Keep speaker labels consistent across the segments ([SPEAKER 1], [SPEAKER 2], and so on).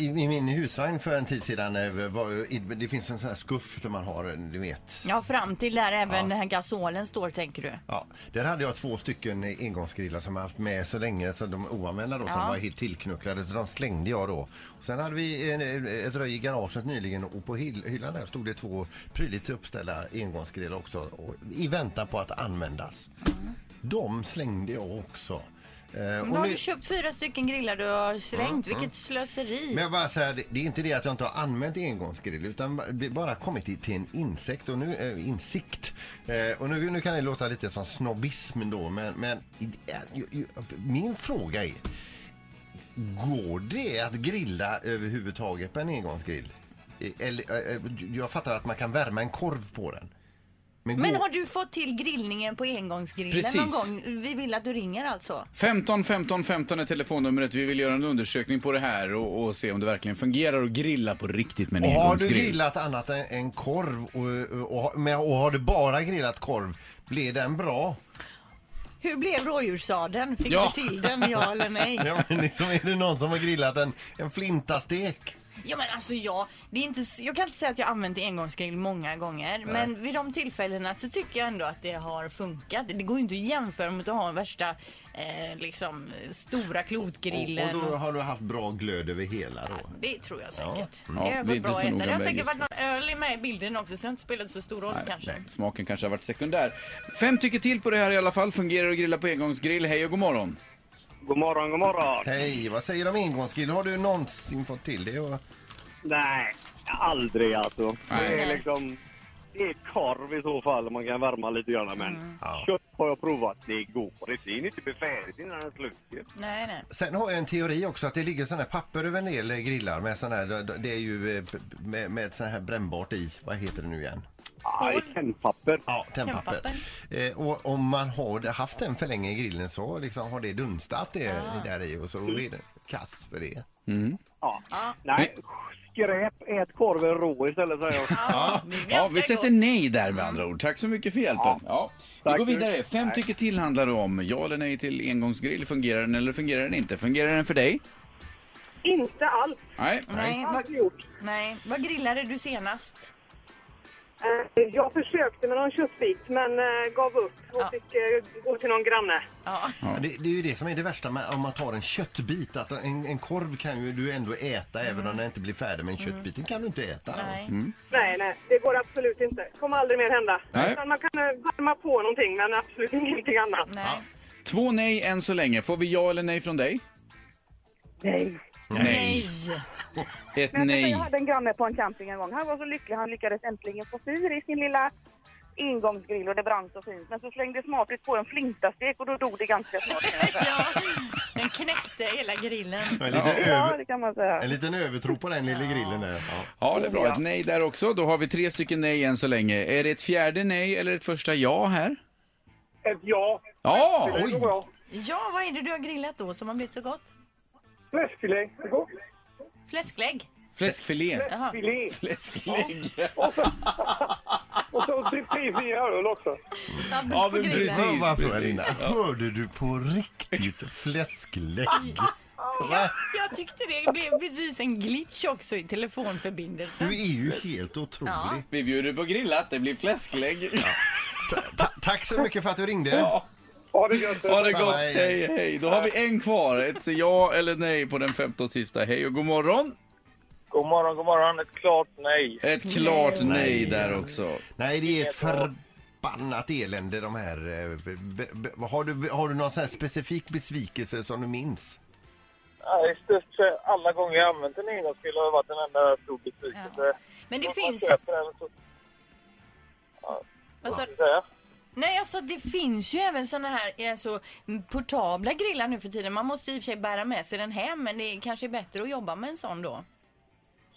[SPEAKER 1] I, I min husvagn för en tid sedan, eh, var, ju- i- det finns en sån här skuff som man har, eh, du vet.
[SPEAKER 2] Ja, fram till där även den här gasolen står tänker du.
[SPEAKER 1] Ja, där hade jag två stycken eh, engångsgrillar som jag haft med så länge, så de oanvända då, som
[SPEAKER 2] Ja.
[SPEAKER 1] var helt tillknucklade, så de slängde jag då. Och sen hade vi eh, ett röj i garaget nyligen och på hyll- hyllan där stod det två prydligt uppställda engångsgrillar också, och, i väntan på att användas. De slängde jag också. Eh, och
[SPEAKER 2] Mm. Men har
[SPEAKER 1] nu-
[SPEAKER 2] du köpt fyra stycken grillar du har slängt? Vilket slöseri!
[SPEAKER 1] Men jag bara säger, det- det är inte det att jag inte har använt engångsgrill utan det har bara kommit i- till en insekt och nu, eh, insikt. Eh, och nu, nu kan det låta lite som snobbism då men, men i- eh, ju- ju- min fråga är Går det att grilla överhuvudtaget på en engångsgrill? Eh, Eller, eh, eh, jag fattar att man kan värma en korv på den.
[SPEAKER 2] Men
[SPEAKER 1] går-
[SPEAKER 2] har du fått till grillningen på engångsgrillen
[SPEAKER 3] Precis.
[SPEAKER 2] någon gång? Vi vill att du ringer alltså.
[SPEAKER 3] 15 15 15 är telefonnumret. Vi vill göra en undersökning på det här och, och se om det verkligen fungerar att grilla på riktigt med en
[SPEAKER 1] Och har du
[SPEAKER 3] engångsgrill.
[SPEAKER 1] grillat annat än, än korv och, och, och, men- och har du bara grillat korv, blir den bra?
[SPEAKER 2] Hur blev rådjurssadeln? Fick
[SPEAKER 3] Ja.
[SPEAKER 2] du till den, ja eller nej?
[SPEAKER 1] Ja, men liksom, är det någon som har grillat en, en flintastek?
[SPEAKER 2] Ja men alltså jag, det är inte, s- jag kan inte säga att jag har använt engångsgrill många gånger men vid de tillfällena så tycker jag ändå att det har funkat. Det går ju inte att jämföra mot att ha en värsta eh, liksom stora klotgrillen.
[SPEAKER 1] Och, och då har du haft bra glöd över hela då?
[SPEAKER 2] Det tror jag säkert.
[SPEAKER 3] Ja,
[SPEAKER 2] Det har
[SPEAKER 3] vi är
[SPEAKER 2] gått
[SPEAKER 3] inte
[SPEAKER 2] bra
[SPEAKER 3] så
[SPEAKER 2] att äta.
[SPEAKER 3] noga
[SPEAKER 2] Det har
[SPEAKER 3] med
[SPEAKER 2] säkert
[SPEAKER 3] just
[SPEAKER 2] varit någon öl med i bilden också så det har inte spelat så stor roll kanske.
[SPEAKER 3] Smaken kanske har varit sekundär. Fem tycker till på det här i alla fall. Fungerar att grilla på engångsgrill. Hej och god morgon.
[SPEAKER 4] God morgon, god morgon.
[SPEAKER 1] Hej, vad säger du om engångsgrill? Har du någonsin fått till det? Och,
[SPEAKER 4] Nej, aldrig alltså. Det
[SPEAKER 3] Nej.
[SPEAKER 4] är liksom... Det är korv i så fall, man kan värma lite grann. Men
[SPEAKER 1] Ja.
[SPEAKER 4] kött har jag provat, det går inte. Det är inte befärdigt innan den slut. ju.
[SPEAKER 2] Nej, nej.
[SPEAKER 1] sen har jag en teori också att det ligger sådana här papper över en del eh, grillar med sån här, det är ju eh, p- med, med sån här brännbart i. Vad heter det nu igen?
[SPEAKER 4] Ah, i tändpapper.
[SPEAKER 1] Ja, tändpapper. Eh, och om man har det- haft den för länge i grillen så liksom har det dunstat det där i och så är det kass för det.
[SPEAKER 4] Ja. Nej, skräp. Ät korven rå istället säger jag.
[SPEAKER 2] Ja, det är ganska
[SPEAKER 3] Ja, vi sätter
[SPEAKER 2] gott.
[SPEAKER 3] nej där med andra ord. Tack så mycket för hjälpen. Ja. Vi
[SPEAKER 4] Tack.
[SPEAKER 3] går vidare. Fem tycker till handlar det om. Ja eller nej till engångsgrill. Fungerar den eller fungerar den inte? Fungerar den för dig?
[SPEAKER 5] Inte alls.
[SPEAKER 3] Nej.
[SPEAKER 2] Nej, vad,
[SPEAKER 5] Aldrig gjort.
[SPEAKER 2] nej, vad grillade du senast?
[SPEAKER 5] Eh, Jag försökte med någon köttbit men eh, gav upp och
[SPEAKER 2] Ja.
[SPEAKER 5] fick eh, gå till någon granne.
[SPEAKER 2] Ja,
[SPEAKER 1] Ja, Det, det är ju det som är det värsta med, om man tar en köttbit. Att en, en korv kan ju du ändå äta även om den inte blir färdig. Men köttbiten kan du inte äta.
[SPEAKER 2] nej.
[SPEAKER 5] Nej, nej, det går absolut inte. kommer aldrig mer hända.
[SPEAKER 3] Nej.
[SPEAKER 5] Utan man kan eh, värma på någonting men absolut ingenting annat.
[SPEAKER 2] nej.
[SPEAKER 3] Två nej än så länge. Får vi ja eller nej från dig?
[SPEAKER 5] Nej.
[SPEAKER 3] Nej. Ett
[SPEAKER 5] Men jag, tänkte,
[SPEAKER 3] nej.
[SPEAKER 5] jag hade en granne på en camping en gång. Han var så lycklig. Han lyckades äntligen få fyr i sin lilla ingångsgrill och det brann så fint. Men så slängde smakligt på en flintastek och då dog det ganska snart. kan jag säga.
[SPEAKER 2] Ja, den knäckte hela grillen.
[SPEAKER 1] En, liten
[SPEAKER 5] Ja,
[SPEAKER 1] över,
[SPEAKER 5] det kan man säga.
[SPEAKER 1] en liten övertro på den lilla grillen där. Ja.
[SPEAKER 3] Ja, det är bra. Ett nej där också. Då har vi tre stycken nej än så länge. Är det ett fjärde nej eller ett första ja här?
[SPEAKER 4] Ett ja.
[SPEAKER 3] Ja!
[SPEAKER 4] Det går bra.
[SPEAKER 2] Ja, vad är det du har grillat då som har blivit så gott?
[SPEAKER 4] Fläskfilé. Det går.
[SPEAKER 2] Fläsklägg?
[SPEAKER 3] Fläskfilé.
[SPEAKER 2] Jaha.
[SPEAKER 4] Filé.
[SPEAKER 3] Fläsklägg.
[SPEAKER 4] Och så drick i fyra öl också.
[SPEAKER 2] Ja,
[SPEAKER 3] Ja,
[SPEAKER 2] på
[SPEAKER 3] men
[SPEAKER 2] grillen.
[SPEAKER 3] precis.
[SPEAKER 1] Ja, varför Alina? Hörde du på riktigt fläsklägg? Va?
[SPEAKER 2] Jag tyckte det blev precis en glitch också i
[SPEAKER 1] Du
[SPEAKER 2] telefonförbindelsen.
[SPEAKER 1] är ju helt otrolig.
[SPEAKER 2] Ja.
[SPEAKER 3] Vi bjuder på grillat. Det blir fläsklägg.
[SPEAKER 1] Ta- tack så mycket för att du ringde.
[SPEAKER 4] Ha det gött.
[SPEAKER 3] Ha det
[SPEAKER 1] Samma,
[SPEAKER 3] gott.
[SPEAKER 1] hej.
[SPEAKER 3] Hej, hej. Då har vi en kvar. Ett ja eller nej på den femte och sista. Hej och god morgon.
[SPEAKER 6] God morgon, god morgon. Ett klart nej.
[SPEAKER 3] Ett klart nej,
[SPEAKER 1] Nej.
[SPEAKER 3] där också.
[SPEAKER 1] Nej, det är ett förbannat elände de här. eh, be- be- Har du, har du någon sån här specifik besvikelse som du minns?
[SPEAKER 6] Nej, störst för alla gånger jag använt en engångsgrill har det varit en enda stor besvikelse.
[SPEAKER 2] Men det
[SPEAKER 6] Om man
[SPEAKER 2] finns...
[SPEAKER 6] köper en så-
[SPEAKER 2] Vad sa du?
[SPEAKER 6] så säga.
[SPEAKER 2] Nej, jag sa det finns ju även såna här alltså, portabla grillar nu för tiden. Man måste i och för sig bära med sig den hem, men det är kanske bättre att jobba med en sån då.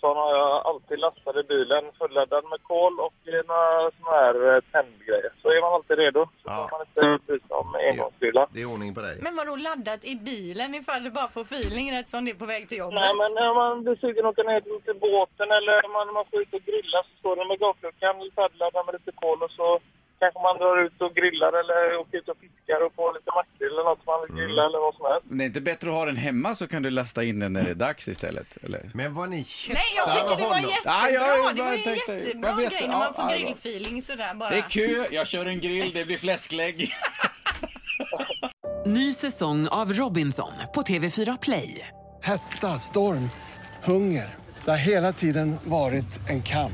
[SPEAKER 5] Olsson har jag alltid lastade bilen fulladdad med kol och några såna här eh, tändgrejer. Så är man alltid redo. Så
[SPEAKER 1] Ja.
[SPEAKER 5] ja. man inte precis om engångsgrillar.
[SPEAKER 1] Det är ordning på dig.
[SPEAKER 2] Men vadå laddat i bilen ifall du bara får feeling rätt som det är på väg till jobbet?
[SPEAKER 5] Nej, men när man blir sugen att åka ner till- till båten eller om man, man ska ut och grilla så står den med gaffelkann färdigladdad med lite kol och så kanske man drar ut och grillar eller åker ut och fiskar och får lite makrill eller något som man vill grilla eller vad som helst.
[SPEAKER 3] Men det är inte bättre att ha den hemma så kan du lasta in den när det är dags istället? Eller?
[SPEAKER 1] Men vad ni
[SPEAKER 2] Nej, jag
[SPEAKER 1] käftar
[SPEAKER 2] tycker
[SPEAKER 1] med
[SPEAKER 2] det var
[SPEAKER 1] honom.
[SPEAKER 2] jättebra!
[SPEAKER 3] Ja, jag
[SPEAKER 2] det var ju
[SPEAKER 3] bara tänkte-
[SPEAKER 2] en
[SPEAKER 3] jag
[SPEAKER 2] jättebra
[SPEAKER 3] vet
[SPEAKER 2] grej
[SPEAKER 3] det.
[SPEAKER 2] när man
[SPEAKER 3] Ja,
[SPEAKER 2] får
[SPEAKER 3] ja, det var-
[SPEAKER 2] grillfeeling sådär bara.
[SPEAKER 3] Det är kö, jag kör en grill, det blir fläsklägg.
[SPEAKER 7] Ny säsong av Robinson på TV4 Play.
[SPEAKER 8] Hetta, storm, hunger. Det har hela tiden varit en kamp.